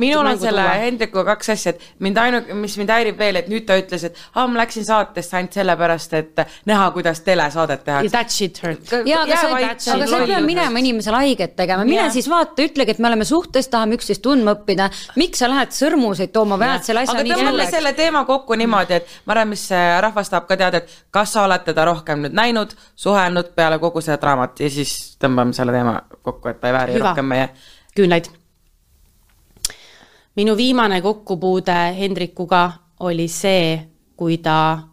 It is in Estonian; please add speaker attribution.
Speaker 1: minul on
Speaker 2: mängu
Speaker 1: selle
Speaker 2: tuua.
Speaker 1: Hendrikuga kaks asja , et mind ainu- , mis mind häirib veel , et nüüd ta ütles , et aa , ma läksin saatesse ainult sellepärast , et näha , kuidas telesaadet tehakse .
Speaker 2: That shit hurt .
Speaker 3: jaa , aga
Speaker 1: Jää
Speaker 3: sa ei ,
Speaker 1: vait,
Speaker 3: aga sa ei
Speaker 1: lollus.
Speaker 3: pea minema inimesele haiget tegema , mine
Speaker 1: Jah.
Speaker 3: siis vaata , ütlegi , et me oleme suhtes , tahame üksteist tundma õppida . miks sa lähed sõrmuseid tooma , vajad selle asja
Speaker 1: aga
Speaker 3: nii
Speaker 1: tõmbame
Speaker 3: suureks .
Speaker 1: selle teema kokku niimoodi , et ma arvan , mis see rahvas tahab ka teada , et kas sa oled teda rohkem nüüd näinud , suhelnud peale kogu seda draamat ja siis tõmbame selle teema kokku , et ta ei vääri
Speaker 2: Hüva.
Speaker 1: Hüva. rohkem meie .
Speaker 2: küünlaid . minu viimane kokkupuude Hendrikuga oli see , kui ta